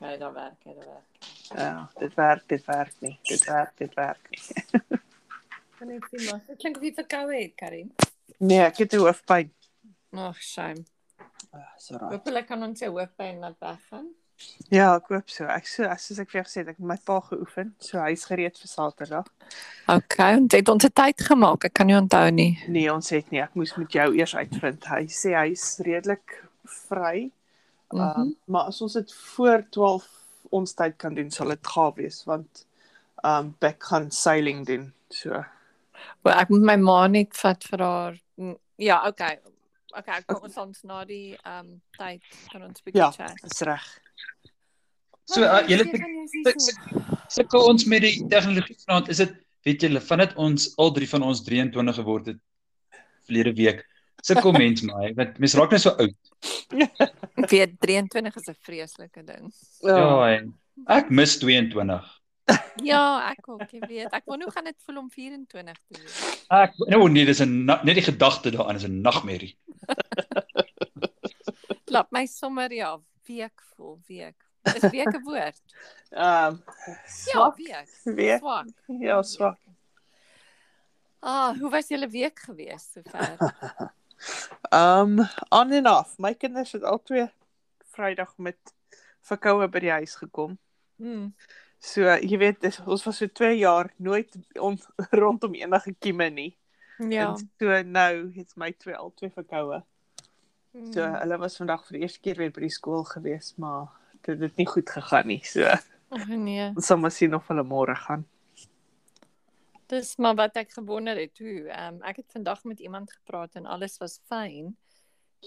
nee, dat werk, hè, dat werk. Ja, dit werk, dit werk nie. Dit werk, dit werk nie. Kan nie sien maar. Dit klink of jy verkoue het, Karin. Nee, ek het hoofpyn. Ag, shame. Ah, so raai. Hoopelik kan ons se hoofpyn laat weggaan. Ja, ek hoop so. Ek so, as soos ek vir jou gesê het, ek het met my pa geoefen, so hy's gereed vir Saterdag. Okay, ons het ons tyd gemaak. Ek kan nie onthou nie. Nee, ons het nie. Ek moes met jou eers uitvind. Hy sê hy's redelik vry. Um, mm -hmm. Maar as ons dit voor 12 ons tyd kan doen, sal dit gaaf wees want um Beck gaan sailing doen. So, Wel, ek moet my ma net vat vir haar. Mm, Ja, okay. Okay, ek kom ons ons na die ehm um, tyd kan ons bietjie Ja. chat. dis reg. So uh, julle suk- Stefan, suk- suk- sukkel ons met die tegnologie vanaand. Is dit weet julle vandat ons al drie van ons 23 geword het verlede week. Sukkel mens my want mens raak net so oud. Ek weet 23 is 'n vreeslike ding. Ja, en ek mis 22. Ja, ek ook, jy weet. Ek wonder hoe gaan dit voel om 24 te wees. Ek nou nee, dis 'n na- net die gedagte daaraan is 'n nagmerrie. Laat my sommer ja, week voel, week. Is week 'n woord? Ehm Ja, swak. week. Week. Swak. Ja, swak. Ah, hoe was julle week gewees sover? Ehm um, on en off. My kinders het al twee Vrydag met verkoue by die huis gekom. Hmm. So, jy weet, dis, ons was so 2 jaar nooit on, rondom enige kieme nie. Ja. En so nou het my twee al twee verkoue. hmm. So hulle was vandag vir die eerste keer weer by die skool gewees, maar dit het nie goed gegaan nie. So Ag nee, ons sal maar sien of hulle môre gaan. dis maar wat ek gewonder het hoe. Ehm um, ek het vandag met iemand gepraat en alles was fyn.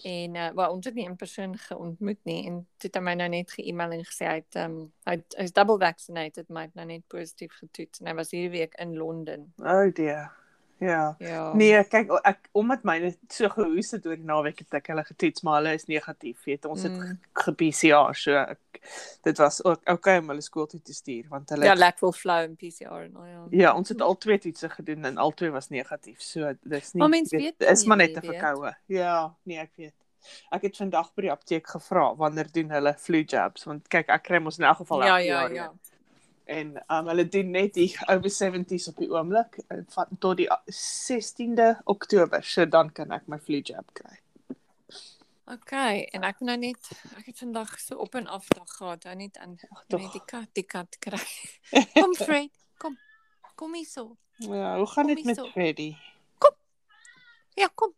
En uh, wel ons het nie in persoon geontmoet nie en toe het hy my nou net ge-email en gesê hy het ehm um, hy het- hy's double vaccinated, maar hy het nou net positief getoets en hy was hierdie week in Londen. O oh dear. Ja. Ja. Nee, kyk o- ek omdat myne so gehoes het oor die naweek het ek hulle getoets, maar hulle is negatief. Weet, ons het Mm. ge-PCR, so ek dit was ook okay om hulle skool toe te stuur want hulle Ja, lateral flow en PCR en al ja. Ja, ons het al twee toetse gedoen en al twee was negatief. So dis nie Maar mens weet is nie, maar net jy 'n weet. verkoue. Ja, nee, ek weet. Ek het vandag by die apteek gevra wanneer doen hulle flu jabs want kyk ek kry mos in elk geval Ja, elke ja, jaar ja. een. En um, hulle doen net die over 70s op die oomblik eh, van tot die a- 16de Oktober. So dan kan ek my flu jab kry. Okay, en ek moet nou net ek het vandag so op en af dag gehad, hou net aan tog. net die kat, die kat kry. Kom Fred, kom. Kom hierso. Ja, hoe gaan Kom dit hier met so. Freddy? Ja, kom.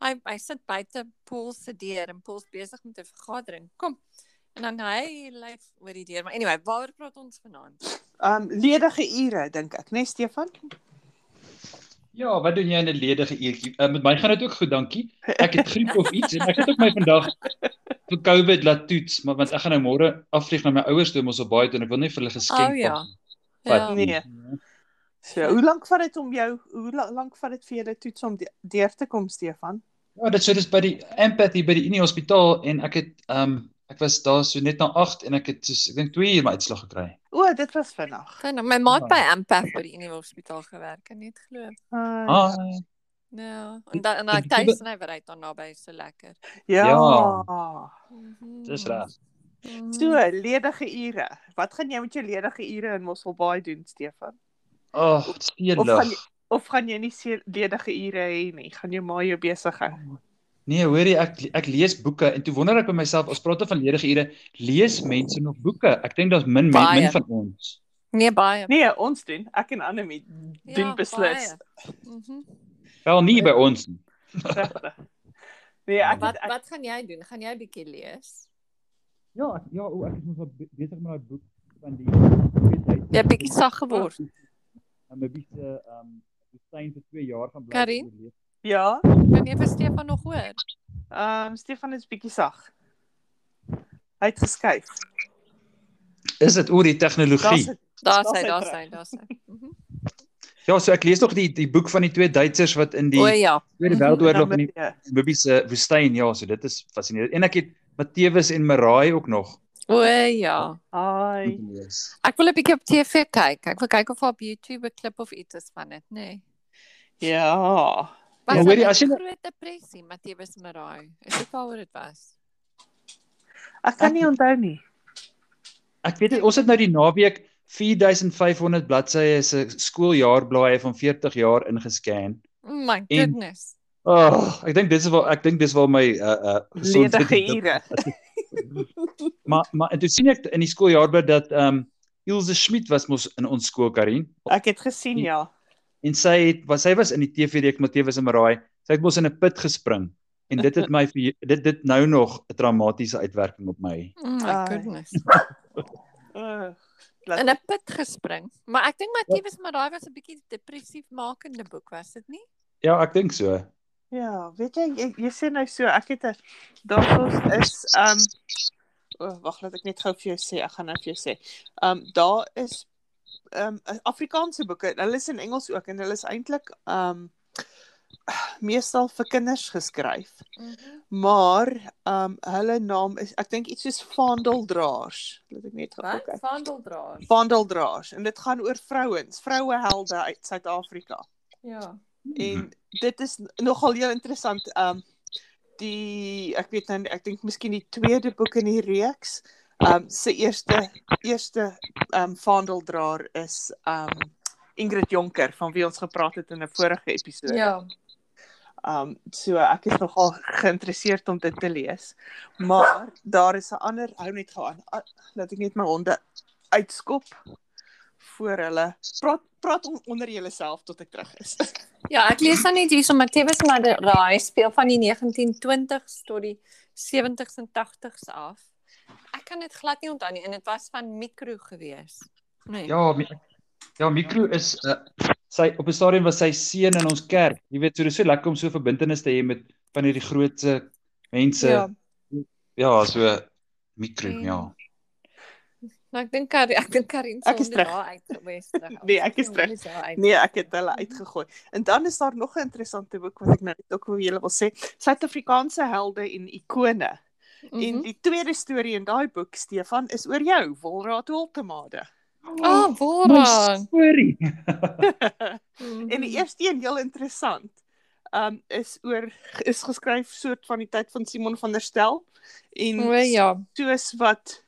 Hy hy sit buite Paul se deur en Paul's besig met 'n vergadering. Kom. En dan hy lyf oor die deur. Maar anyway, waaroor praat ons vanaand? Um ledige ure dink ek, né nee, Stefan? Ja, wat doen jy in 'n ledige uurtjie? Uh, met my gaan dit ook goed, dankie. Ek het griep of iets en ek het ook my vandag vir COVID laat toets, maar want ek gaan nou môre afvlieg na my ouers toe om ons op baie toe en ek wil nie vir hulle geskenk O, ja. vat Ja. nie. Nee. So, hoe lank vat dit om jou hoe la- lank vat dit vir julle toets om de- deur te kom Stefan? Ja, dit sou dis by die Empathy by die Unie Hospitaal en ek het ehm um, ek was daar so net na 8 en ek het soos ek dink 2 uur my uitslag gekry. O, dit was vinnig. Kan nou, my maat by Ampath by die Universiteit gewerk, kan net glo. Uh, Ah, Ja, en dan en hy Dit- tuis en hy bereik dan naby so lekker. ja. ja. ja. Mhm. dis reg. Mhm. So, ledige ure. Wat gaan jy met jou ledige ure in Mosselbaai doen Stefan? Ag, oh, Of gaan steenlig. jy- Of gaan jy nie se- ledige ure hê nie? Gaan jou ma jou besig hou? Nee, hoorie, ek ek lees boeke en toe wonder ek by myself, ons praat dan van ledige ure, lees mense nog boeke? Ek dink daar's min men, Baie. min van ons. Nee, baie. Nee, ons doen. Ek en Annelie doen Ja, beslis. baie. Mhm. Wel nie by ons nie. Regtig. Nee, ek Wat het, ek, wat gaan jy doen? Gaan jy bietjie lees? Ja, ek, ja, o, ek is mos besig met daai boek van die Jy het Ja, bietjie sag geword. En my bietjie ehm um, Steyn vir 2 jaar gaan bly Karin? lees. ja. Kan jy vir Ah, Stefan nog hoor? Ehm um, Stefan is bietjie sag. Hy het geskuif. Is dit oor die tegnologie? Daar's 'n Daar Daar's sy, hy daar terug. sy, daar sy. Mhm. Ja, so ek lees nog die die boek van die twee Duitsers wat in die O ja. Tweede Mhm. Wêreldoorlog in die Ja. Mibie se woestyn, ja, so dit is fascinerend. En ek het Matteus en Maraai ook nog O ja. Hi. moet lees. Ek wil 'n bietjie op TV kyk. Ek wil kyk of daar op YouTube 'n klip of iets is van dit, nê. Nee. Ja. Was Ja, dit hoorie, ja, as jy nou- groot depressie, Matteus Maraai? Is dit waaroor dit was? Ek kan nie onthou nie. Ek weet het, ons het nou die naweek 4500 bladsye se skooljaarblaaie van 40 jaar ingescan. Oh my goodness. Ag, oh, ek dink dis is waar ek dink dis waar my uh uh ledige ure. maar maar en toe sien ek in die skooljaarblad dat ehm um, Ilse Schmidt was mos in ons skool Karin. Ek het gesien ja. En sy het was sy was in die TV-reek Matteus en Maraai. Sy het mos in 'n put gespring. En dit het my dit dit nou nog 'n traumatiese uitwerking op my. Oh my goodness. Uh, In 'n put gespring. Maar ek dink Matteus maar daai was 'n bietjie depressiefmakende boek, was dit nie? Ja, ek dink so. Ja, weet jy jy, jy sê nou so, ek het 'n daarvoor is um oh, wag, laat ek net gou vir jou sê, ek gaan nou vir jou sê. Um daar is um Afrikaanse boeke. Hulle is in Engels ook en hulle is eintlik um meestal vir kinders geskryf. Mm -hmm. Maar ehm um, hulle naam is ek dink iets soos Vaandeldraers. Laat ek net gou Wat? kyk. Vandeldraers. Vaandeldraers en dit gaan oor vrouens, vrouehelde uit Suid-Afrika. Ja. Mhm. En dit is nogal heel interessant. Ehm um, die ek weet nou nie, ek dink miskien die tweede boek in die reeks. Ehm um, se eerste eerste ehm um, Vaandeldraer is ehm um, Ingrid Jonker van wie ons gepraat het in 'n vorige episode. Ja. Ehm um, so ek is nogal geïnteresseerd om dit te lees. Maar daar is 'n ander hou net gou aan. Ah, Laat ek net my honde uitskop voor hulle. Praat praat on, onder jouself tot ek terug is. Ja, ek lees dan net hierso Matteus maar daai speel van die 1920s tot die 70s en 80s af. Ek kan dit glad nie onthou nie en dit was van mikro gewees. Nee. Ja, Mi- ja, Mikro is uh, sy op 'n stadium was sy seun in ons kerk. Jy weet, so dis so lekker om so 'n verbintenis te hê met van hierdie groot se mense. Ja, ja so Mikro, Mm. ja. Maar nou, ek dink Kar- ek dink Karin Ek is terug. daar uitgewees terug. Nee, ek is terug. Nee, ek het hulle uitgegooi. En dan is daar nog 'n interessante boek wat ek nou net ook vir julle wil sê. Suid-Afrikaanse helde en ikone. Mhm. Mm -hmm. En die tweede storie in daai boek, Stefan, is oor jou, Wolraad Holtemade. Ah, Bora. Sorry. En Mm. die eerste een heel interessant. Um is oor is geskryf soort van die tyd van Simon van der Stel en O ja. soos wat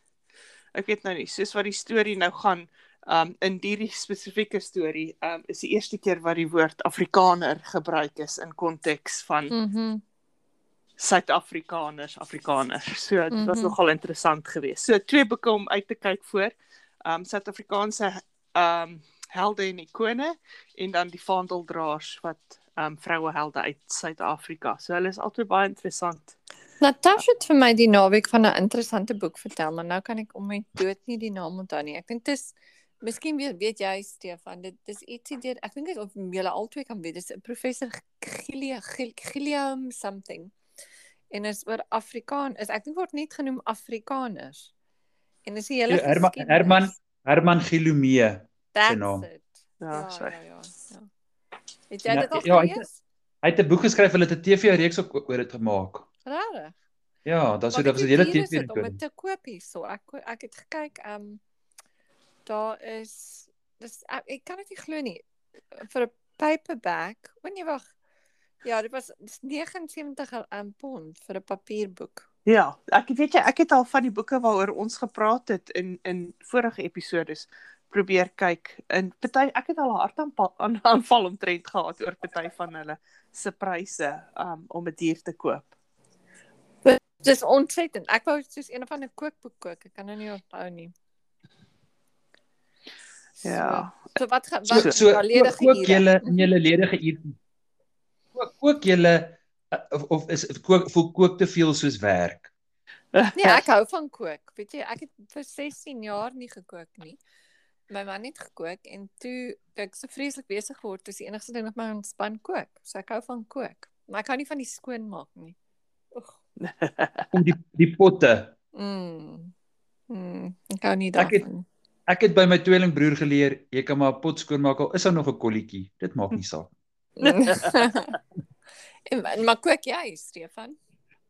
ek weet nou nie, soos wat die storie nou gaan um in hierdie spesifieke storie um is die eerste keer wat die woord Afrikaner gebruik is in konteks van Mhm. Suid-Afrikaners, Afrikaners. So dit was Mhm. nogal interessant geweest. So twee boeke om uit te kyk voor. Ehm um, Suid-Afrikaanse ehm um, helde en ikone en dan die vaandeldraers wat ehm um, vrouehelde uit Suid-Afrika. So hulle is altyd baie interessant. Natasha het vir my die naweek van 'n interessante boek vertel, maar nou kan ek om my dood nie die naam onthou nie. Ek dink dit is Miskien weet, weet jy Stefan, dit dis ietsie deur ek dink dit of julle albei kan weet. Dis 'n professor Gilia Gil- Gilliam something. En is oor Afrikaan, is ek dink word net genoem Afrikaners. En dis die hele Ja, Herman- geskiedenis. Herman- Herman Gilumee. That's naam. it. Ja, Ja, ja, sorry. ja. ja. Het jy Ja, dit al ja, ek- gelees? Hy het 'n boek geskryf, hulle het 'n TV-reeks ook oor dit gemaak. Rarig. Ja, dan sou Maar dit was 'n weet hele jy, hier is dit om dit TV-reeks. te koop hierso. Ek ko- ek het gekyk, ehm um, daar is dis ek, ek kan dit nie glo nie vir 'n paperback. O nee, wag. Ja, dit was dis 79 um, pond vir 'n papierboek. Ja, ek weet jy, ek het al van die boeke waaroor ons gepraat het in in vorige episodes probeer kyk. In party ek het al 'n hartaanval aan- aanval omtrent gehad oor party van hulle se pryse um om dit hier te koop. Dis ontsettend. Ek wou soos een van 'n kookboek kook. Ek kan nou nie onthou nie. So, Ja. So wat Mhm. gaan So wat so daar ledige kook- kook ure? julle in julle ledige uur. Kook kook julle uh, of of is kook voel kook te veel soos werk. Nee, ek hou van kook. Weet jy, ek het vir 16 jaar nie gekook nie. My man het gekook en toe ek so vreeslik besig geword, dis die enigste ding wat my ontspan kook. So ek hou van kook, maar ek hou nie van die skoonmaak nie. Oeg. Om die die potte. Mm. Mm, ek hou nie Ek het- daarvan. Ek het by my tweelingbroer geleer, jy kan maar 'n pot skoonmaak al is daar nog 'n kolletjie. Dit maak nie saak. en, en maar kook jy, Stefan?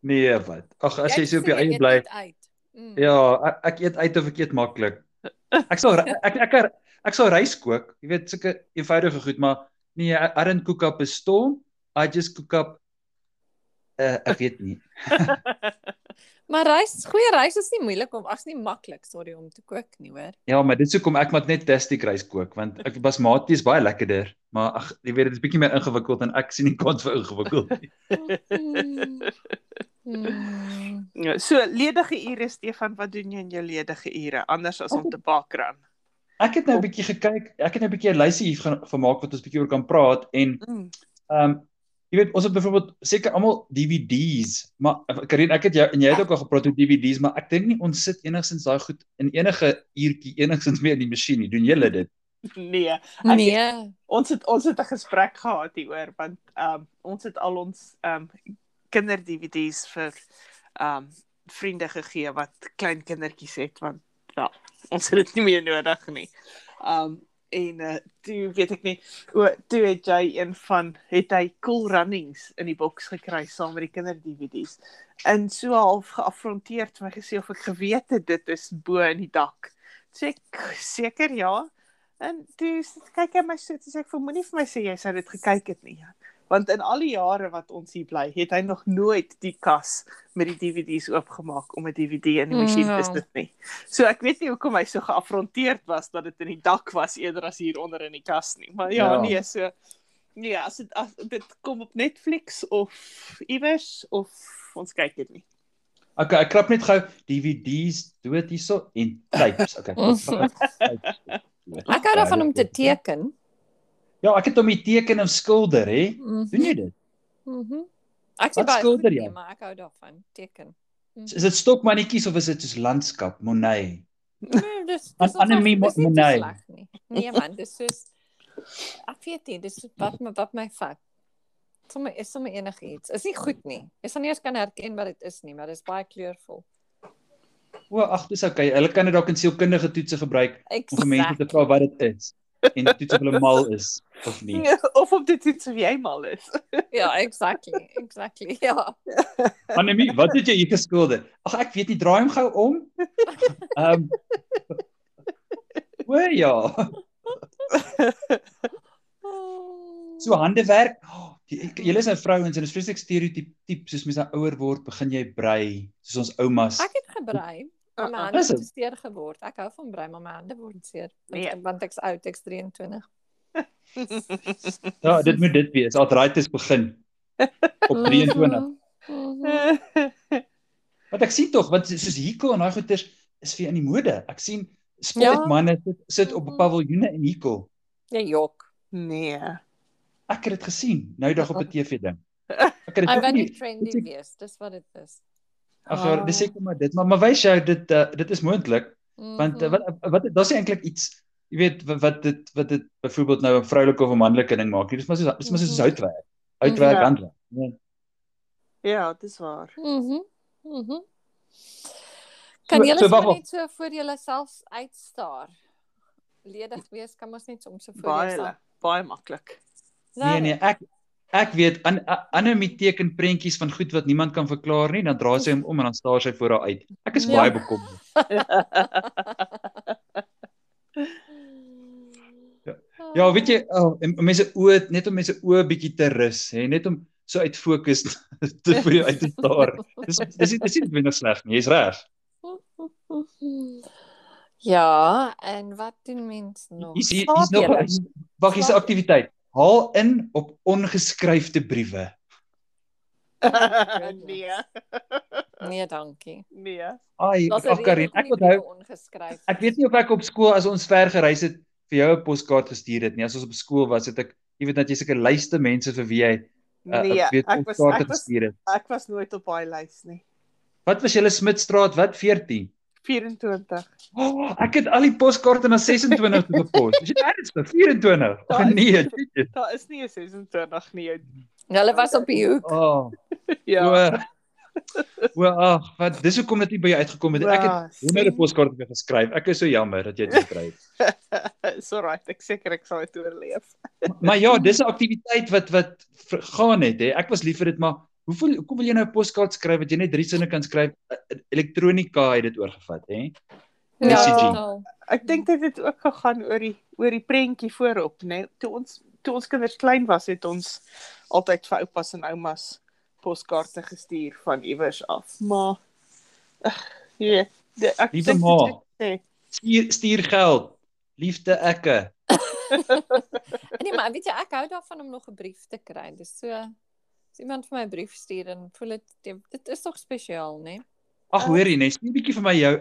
Nee, wat. Ag, as jy so op jou sê eie eet bly. net uit. Mm. Ja, ek, ek eet uit of ek eet maklik. Ek sal ek ek ek, ek sal rys kook. Jy weet sulke eenvoudige goed, maar nee, I I don't cook up a eh, storm. I just cook up uh, ek weet nie. Maar reis, goeie reis is nie moeilik om, ag's nie maklik, sorry om te kook nie, hoor. Ja, maar dit hoekom ek maar net tasty rice kook want ek basmati is baie lekkerder, maar ag, jy weet dit is bietjie meer ingewikkeld en ek sien nie kans vir ingewikkeld nie. Mm. Mm. Ja, So ledige ure Stefan, wat doen jy in jou ledige ure anders as om te bakran? Ek het nou 'n bietjie gekyk, ek het nou 'n bietjie 'n lysie hier gaan gemaak wat ons bietjie oor kan praat en Mm. ehm um, jy weet ons het byvoorbeeld seker almal DVD's, maar Karin, ek het jou en jy het ook al gepraat oor DVD's, maar ek dink nie ons sit enigstens daai goed in enige uurtjie enigstens meer in die masjien nie. Doen julle dit? Nee, Ek- Nee. ons het ons het 'n gesprek gehad hieroor want ehm um, ons het al ons ehm um, kinder DVD's vir ehm um, vriende gegee wat klein kindertjies het want ja, ons het dit nie meer nodig nie. Ehm um, en uh, toe weet ek nie o toe het jy een van het hy Cool Runnings in die boks gekry saam met die kinder DVD's. En so half geafronteerd my gesê of ek geweet het dit is bo in die dak. Sê ek seker ja. En toe s- kyk hy my so toe sê ek vir moenie vir my sê jy sou dit gekyk het nie. Want in al die jare wat ons hier bly, het hy nog nooit die kas met die DVD's oopgemaak om 'n DVD in die masjien Ja. te sit nie. So ek weet nie hoekom hy so geafronteerd was dat dit in die dak was eerder as hier onder in die kas nie. Maar ja, Ja. ja. nee, so ja, as dit as dit kom op Netflix of iewers of ons kyk dit nie. Okay, ek krap net gou DVD's dood hierso en tapes. Okay. Nee, Ek hou daarvan om te teken. Ja, ek het hom hier teken en skilder, hè. Doen Mhm. jy dit? Mhm. Ek Wat sê baie skilder goed jy? nie, maar ek hou daarvan teken. Is dit stokmannetjies of is dit soos landskap, Monet? Nee, dis Aan dis is Annemie reg, dis nie te Monet. sleg nie. Nee man, dis soos ek weet nie, dis wat my wat my vat. Sommige is sommer enigiets. Is nie goed nie. Jy sal nie eens kan herken wat dit is nie, maar dit is baie kleurvol. O, ag, dis okay. Hulle kan dit dalk in sielkundige toetse gebruik om vir mense te Exact. vra wat dit is en toets of hulle mal is of nie. of op dit iets of jy mal is. Ja, exactly. Exactly. Ja. Annemie, wat het jy hier geskilder? Ag, ek weet nie, draai hom gou om. Ehm um, O ja, so Hmm. handewerk. Oh, jy- Julle is nou vrouens en dit is vreeslik stereotyp soos mense nou ouer word, begin jy brei, soos ons oumas. Ek het gebrei. maar My hande Is dit? het seer geword. Ek hou van brei, maar my hande word seer. Want, Nee. want ek's oud, ek's 23. Ja, dit moet dit wees. Arthritis begin op 23. Eh. Mhm. Want ek sien tog want soos Hiko en daai goeters is vir in die mode. Ek sien Ja. sportmense sit, sit op Mhm. paviljoene in Hiko. Jy Ja, jok. nee. Ek het dit gesien nou dag op 'n TV ding. Ek het Hy dit wil ook nie nie. trendy dit- wees. Dis wat dit is. Ag ja, dis seker maar dit, maar maar wys jou dit uh, dit is moontlik want Mhm. uh, wat wat daar's nie eintlik iets jy weet wat, wat dit wat dit byvoorbeeld nou 'n vroulike of 'n manlike ding maak. nie. Dis maar soos dis maar soos Mhm. houtwerk. Houtwerk Ja. handwerk. Ja. Ja, dis waar. Mhm. Mhm. Kan so julle so, wag, wag. net so voor julle self uitstaar? Ledig wees kan mos net soms so voor Nou Baie jouself. baie maklik. Nee nee, ek ek weet an, an, Anemie teken prentjies van goed wat niemand kan verklaar nie, dan draai sy hom om en dan staar sy voor haar uit. Ek is Ja. baie bekommerd. Nee, Ja, weet jy, oh, en- en mense oë net om mense oë bietjie te rus, hè, net om so uitfokus te vir jou uit te staar. Dis dis nie- dis nie minder sleg nie, jy's reg. Ja, en wat doen mens nog? Hier's hier- Slaap hier's nog julle? een- wag, hier's 'n Slaap. aktiwiteit. Haal in op ongeskryfde briewe. nee, Nee, dankie. nee. Ai, Daar's 'n ag rede Karin, hoekom ek die briewe onthou, ongeskryf. ek weet nie of ek op skool as ons ver gereis het vir jou 'n poskaart gestuur het nie. As ons op skool was, het ek jy weet dat jy seker lyste mense vir wie jy uh, Nee, weet ek was poskaarte ek was gestuur het. ek was nooit op daai lys nie. Wat was julle Smidstraat, wat 14? 24. Oh, ek het al die poskaarte na 26 toe gepos. Is jy ernstig? 24. Ag Daar is- nee. Jesus. Daar is nie 'n 26 nie. jou- Hulle was op die hoek. Oh. O, Ja. o, ag, wat dis hoekom dit nie by jou uitgekom het. Ek Ja. het honderde poskaarte vir jou geskryf. Ek is so jammer dat jy dit geskryf. Dis reg, ek seker ek sal dit oorleef. Maar ja, dis 'n aktiwiteit wat wat vergaan het hè. Ek was lief vir dit, maar hoeveel hoekom wil jy nou 'n poskaart skryf wat jy net drie sinne kan skryf? Elektronika het dit oorgevat hè. Ja. Messaging. totaal. Ek dink dit het ook gegaan oor die oor die prentjie voorop, né? Nee? Toe ons toe ons kinders klein was, het ons altyd vir oupas en oumas poskaarte gestuur van iewers af. Maar Jy weet, de- ek Liewe dink ma. dit is- nee. Stuur stuur geld. Liefde ekke. Nee, maar weet jy, ek hou daarvan om nog 'n brief te kry. Dis so as iemand vir my 'n brief stuur en voel dit dit- dit is tog spesiaal, né? Ag Ja. hoor jy, nee, stuur 'n bietjie vir my jou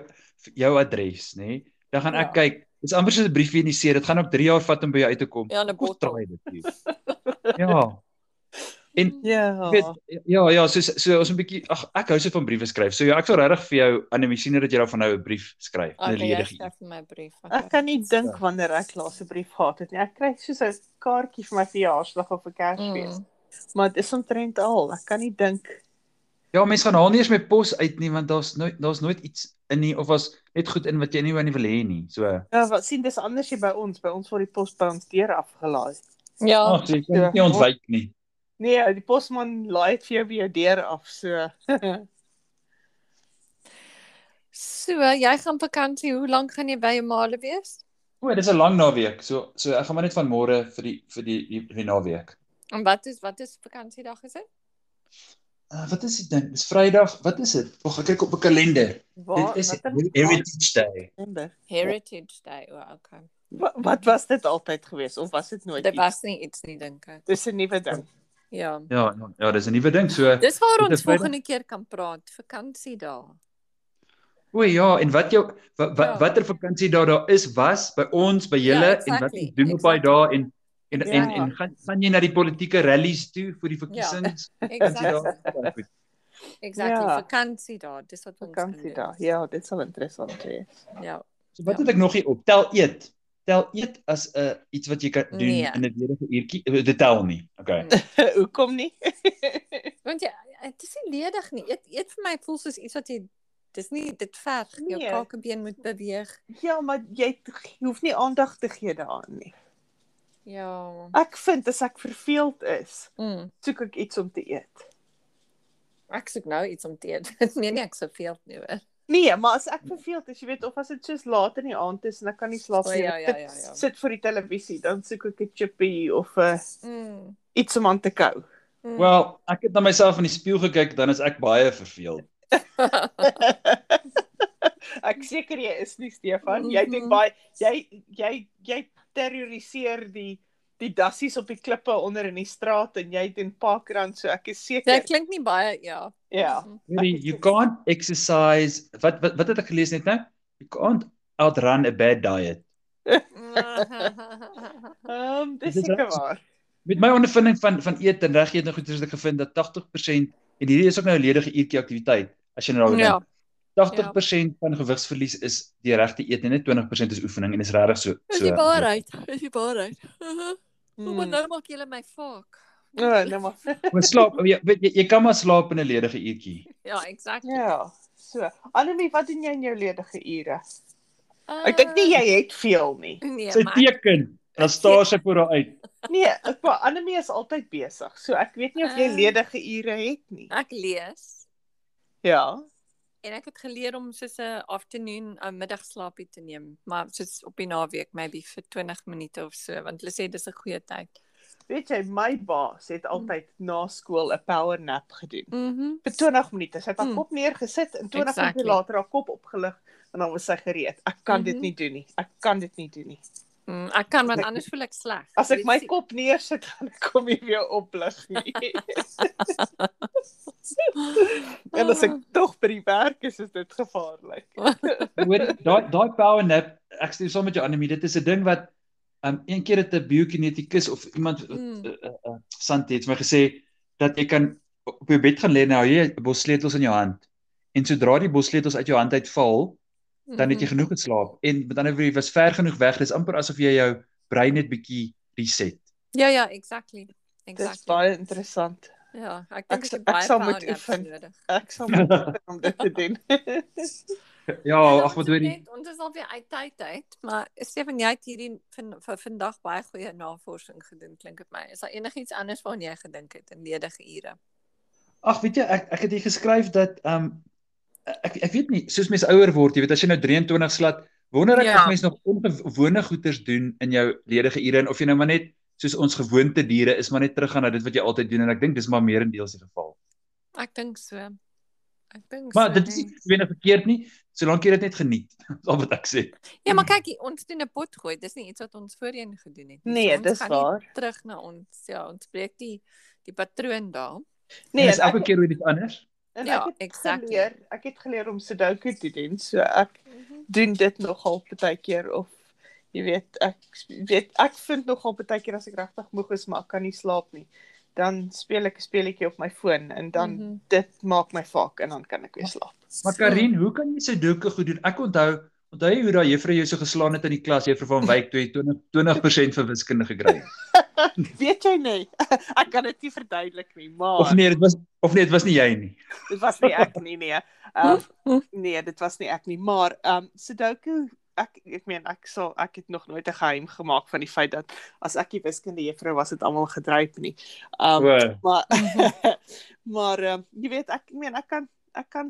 jou adres, nê? Nee? Dan gaan ek Ja. kyk. Dis amper soos 'n briefie in die see. Dit gaan ook 3 jaar vat om by jou uit te kom. Ja, in 'n Kom ons bottel. try dit hier. Ja. En Ja. Ek weet ja ja so so ons 'n bietjie ag ek hou so van briewe skryf. So ja, ek sou regtig vir jou animesiener dat jy daarvan hou 'n brief skryf. nou Okay, ja, 'n jy ledige. een. skryf vir my 'n brief. Ek kan nie Ja. dink wanneer ek laas 'n brief gehad het nie. Ek kry soos 'n kaartjie vir my verjaarsdag of 'n Kersfees, Mm. maar dit is omtrent al. Ek kan nie dink. Ja, mense gaan haar nie eens met pos uit nie want daar's nooit daar's nooit iets in nie of was net goed in wat jy nie wou nie wil hê nie. So Ja, wat sien dis anders hier by ons. By ons word die pos by ons deur afgelaai. Mm. Ja, ag jy kan dit nie ontwyk nie. Nee, die posman laai dit vir jou by jou deur af, so. so jy gaan vakansie, hoe lank gaan jy by jou maale wees? O, dis 'n lang naweek. So so ek gaan maar net van môre vir die vir die die, die naweek. En wat is wat is vakansiedag is dit? Uh, wat is die ding? Dis Vrydag. Wat is dit? Wag, ek kyk op 'n kalender. Ja, Dit is wat in Heritage Day. Desember? Heritage Day. O, oh, okay. Wat, wat was dit altyd gewees of was dit nooit? Dit iets? was nie iets nie dink ek. dis 'n nuwe ding. Ja. Ja, ja, ja, dis 'n nuwe ding. So Dis waar Dit ons is Vrydag. volgende keer kan praat, vakansiedae. O ja, en wat jou wat, wat, Ja. watter vakansie daar daar is was by ons by julle Ja, en wat exactly, jy doen op daai exactly. dae en en Ja. en, en gaan, gaan jy na die politieke rallies toe Ja. vir die verkiesings? Exactly. Exactly, Ja. vakansiedae. Dis wat ons gaan doen. Vakansie daar. Ja, dit sal interessant wees. Ja. So wat het ek nog hier op? Tel eet. Tel eet as 'n uh, iets wat jy kan doen Nee. in 'n ledige uurtjie. Eh, Dit tel nie. Okay. Nee. Hoekom nie? Want jy dit is nie ledig nie. Eet eet vir my voel soos iets wat jy dis nie dit verg jou Nee. kakebeen moet beweeg. ja, maar jy t- hoef nie aandag te gee daaraan nie. Ja. Ek vind as ek verveeld is, Mm. soek ek iets om te eet. Ek soek nou iets om te eet. nee nee, ek sou veel nou. hoor. Nee, maar as ek verveeld is, jy weet, of as dit soos laat in die aand is en ek kan nie slaap O, nie, ja, ek ja, sit- ja, ja. sit voor die televisie, dan soek ek 'n chippie of 'n uh, Mm. iets om aan te kou. mm. Wel, ek het na myself in die spieël gekyk, dan is ek baie verveeld. Ek seker jy is nie Stefan. Mhm. Jy dink baie jy jy jy terroriseer die die dassies op die klippe onder in die straat en jy doen parkrand so ek is Dit seker. klink nie baie ja. Ja. Mm. Hoorie, you can't exercise. Wat wat wat het ek gelees net nou? You can't outrun a bad diet. Mm. Ja. Ehm um, dis Dit is seker reg. waar. Met my ondervinding van van eet en reg eet en goed is ek gevind dat 80% en hierdie is ook nou 'n ledige uurtjie aktiwiteit as jy nou ja. dink. 80% van gewigsverlies is die regte eet en net 20% is oefening en dis regtig so Dis so. die waarheid. Dis die waarheid. Kom maar Hmm. nou maak julle my vaak. O, nou maar. Maar slaap, jy weet jy, jy kan maar slaap in 'n ledige uurtjie. Ja, exactly. Ja. So, Annelie, wat doen jy in jou ledige ure? Uh, Ek dink nie jy het veel nie. nee, Sy maar ek- teken, dan staar sy voor haar uit. Nee, ek maar Annelie is altyd besig. So ek weet nie of jy Ah. ledige ure het nie. ek lees. Ja. En ek het geleer om soos 'n afternoon 'n middagslaapie te neem, maar soos op die naweek maybe vir 20 minute of so, want hulle sê dis 'n goeie tyd. Weet jy, my baas Mm. het altyd na skool 'n power nap gedoen. Mhm. vir 20 minute. Sy het haar Mm. kop neergesit en 20 exactly. Exactly. minute later haar kop opgelig en dan was sy gereed. Ek kan mm -hmm. dit Mhm. nie doen nie. Ek kan dit nie doen nie. Mm, ek kan want anders voel ek sleg. As ek Weet my jy- kop neersit, gaan ek kom nie weer oplig nie. en as ek tog by die werk is, is dit gevaarlik. Hoor, daai daai power nap, ek stem saam met jou Anemie, dit is 'n ding wat um een keer het 'n biokinetikus of iemand Mm. uh, uh, Santi het vir my gesê dat jy kan op jou bed gaan lê en nou jy 'n bos sleutels in jou hand. En sodra die bos sleutels uit jou hand uitval, dan het jy Mhm. genoeg geslaap. En met ander woorde, jy was ver genoeg weg. Dis amper asof jy jou brein net bietjie reset. Ja ja, exactly. Dit is Exactly. baie interessant. Ja, ek Ek dink ek sal- het ek baie sal power moet naps oefen. nodig. Ek sal moet oefen om dit te doen. Ja, Ja, ag ons wat hoor het jy? net- Ons is al weer uit tyd uit, maar Stefan, jy het hierdie van vir vandag baie goeie navorsing gedoen, klink dit my. Is daar enigiets anders waaraan jy gedink het in ledige ure? Ag weet jy, ek ek het hier geskryf dat um ek ek weet nie, soos mens ouer word, jy weet as jy nou 23 slat, wonder ek Ja. ja. of mens nog ongewone goeders doen in jou ledige ure en of jy nou maar net soos ons gewoonte diere is maar net teruggaan na dit wat jy altyd doen en ek dink dis maar meer in deels die geval. Ek dink so. Ek Ek dink Maar so, dit is nee. nie wenig verkeerd nie, solank jy dit net geniet. Dis al wat ek sê. Ja, maar kyk, hier, ons doen 'n pot gooi. Dis nie iets wat ons voorheen gedoen het nie. Nee, ons dis gaan nie waar. Terug na ons. Ja, ons breek die die patroon daar. Nee, Nee, dis en elke ek, keer weer iets anders. en Ja, ek het exactly. Geleer, ek het geleer om Sudoku te doen, so ek Mhm. doen dit nogal baie keer of jy weet ek sp- weet ek vind nogal baie keer as ek regtig moeg is maar ek kan nie slaap nie dan speel ek 'n speletjie op my foon en dan mm -hmm. Mhm. dit maak my vaak en dan kan ek weer slaap. Maar Karin, hoe kan jy Sudoku goed doen? Ek onthou, onthou jy hoe daai juffrou jou so geslaan het in die klas, juffrou van Wyk, toe jy 20 20% vir wiskunde gekry het? Weet jy nie? ek kan dit nie verduidelik nie, Of Ah. maar nee, dit was of nee, dit was nie jy nie. dit was nie ek nie nee. Um, nee, dit was nie ek nie, maar ehm um, Sudoku ek ek meen ek sal ek het nog nooit 'n geheim gemaak van die feit dat as ek die wiskunde juffrou was het almal gedryf nie. Um O, maar maar um, jy weet ek ek meen ek kan ek kan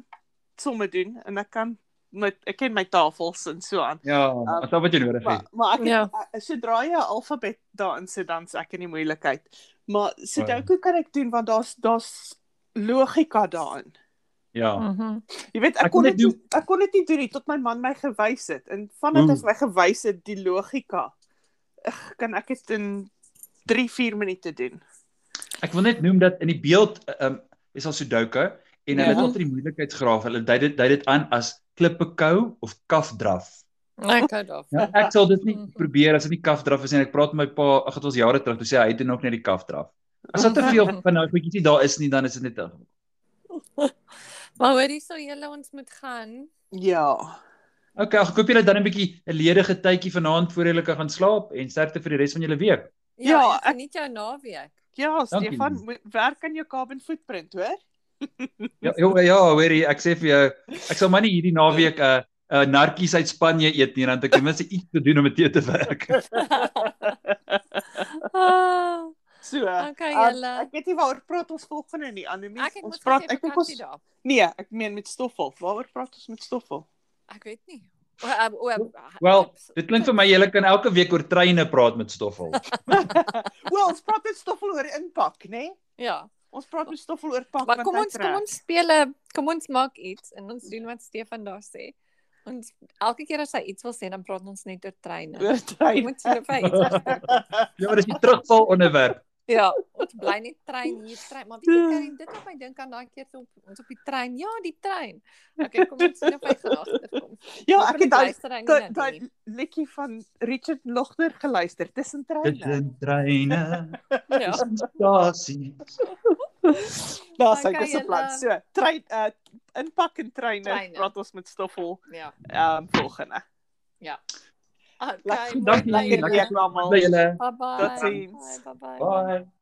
somme doen en ek kan met ek ken my tafels en so aan. ja, as al wat jy nodig Ehm, Maar het. maar ek Ja. het, ja. sodra jy 'n alfabet daarin sit dan is ek in die moeilikheid. Maar Sudoku kan ek doen want daar's daar's logika daarin. Ja. Mhm. Jy weet Ek ek kon kon dit dit nie- ek kon dit nie doen nie tot my man my gewys het en vandat Oeh. hy my gewys het die logika ugh, kan ek dit in 3 4 minute doen. Ek wil net noem dat in die beeld ehm um, is al Sudoku en hulle Ja. het altyd die moeilikheidsgraaf. Hulle dui dit dui dit aan as klippekou of kafdraf. Ek hou daarvan. Ja, ek sal dit nie probeer as dit nie kafdraf is nie. Ek praat met my pa, ag dit was jare terug, toe sê hy hy doen ook net die kafdraf. As daar te veel van nou goedjies nie daar is nie, dan is dit net 'n Maar hoorie, sou julle ons moet gaan. Ja. Okay, ek koop julle dan 'n bietjie 'n ledige tydjie vanaand voor julle kan gaan slaap en sterkte vir die res van julle week. Ja, Ja, ek- ek geniet jou naweek. Ja, Dankie. Stefan, moet- werk aan jou carbon footprint, hoor? Ja, ja, ja, hoorie, ek sê vir jou, ek sal maar nie hierdie naweek 'n uh, 'n uh, nartjies uit Spanje eet nie, dan het ek ten minste iets te doen om dit te werk. Ah, So. okay, um, julle. Ek weet nie waaroor praat ons volgende nie, Annelie. Ek het Ons mos praat gesê ek dink vakansie ons daar. nee, ek meen met stoffel. Waaroor praat ons met stoffel? Ek weet nie. O, ehm, o, ehm, Wel, Dit klink vir my julle kan elke week oor treine praat met Stoffel. Wel, ons praat met stoffel oor inpak, né? Nee? ja. Ons praat met stoffel oor pak Maar kom hy ons kom trek. ons speel 'n kom ons maak iets en ons doen wat Stefan daar sê. Ons elke keer as hy iets wil sê, dan praat ons net oor treine. oor Jy trein. moet sien of hy iets verstaan. Ja, maar dis die terugval onderwerp. Ja, ons bly net trein hier trein, maar weet jy Karin, dit laat my dink aan daai keer toe op- ons op die trein. Ja, die trein. Okay, kom ons sien of hy gelag kom. Ja, ek het daai daai- daai daai liedjie van Richard Logner geluister tussen Dit treine. is treine, Ja. stasie. Daar's hy Dankie dis 'n plan. julle. So, trein uh inpak en treine Treine. praat ons met stoffel Ja. ehm um, volgende. Okay. Lekker mooi dag, bly lekker julle. week almal. By julle. Bye bye. Totsiens. Bye bye. Bye.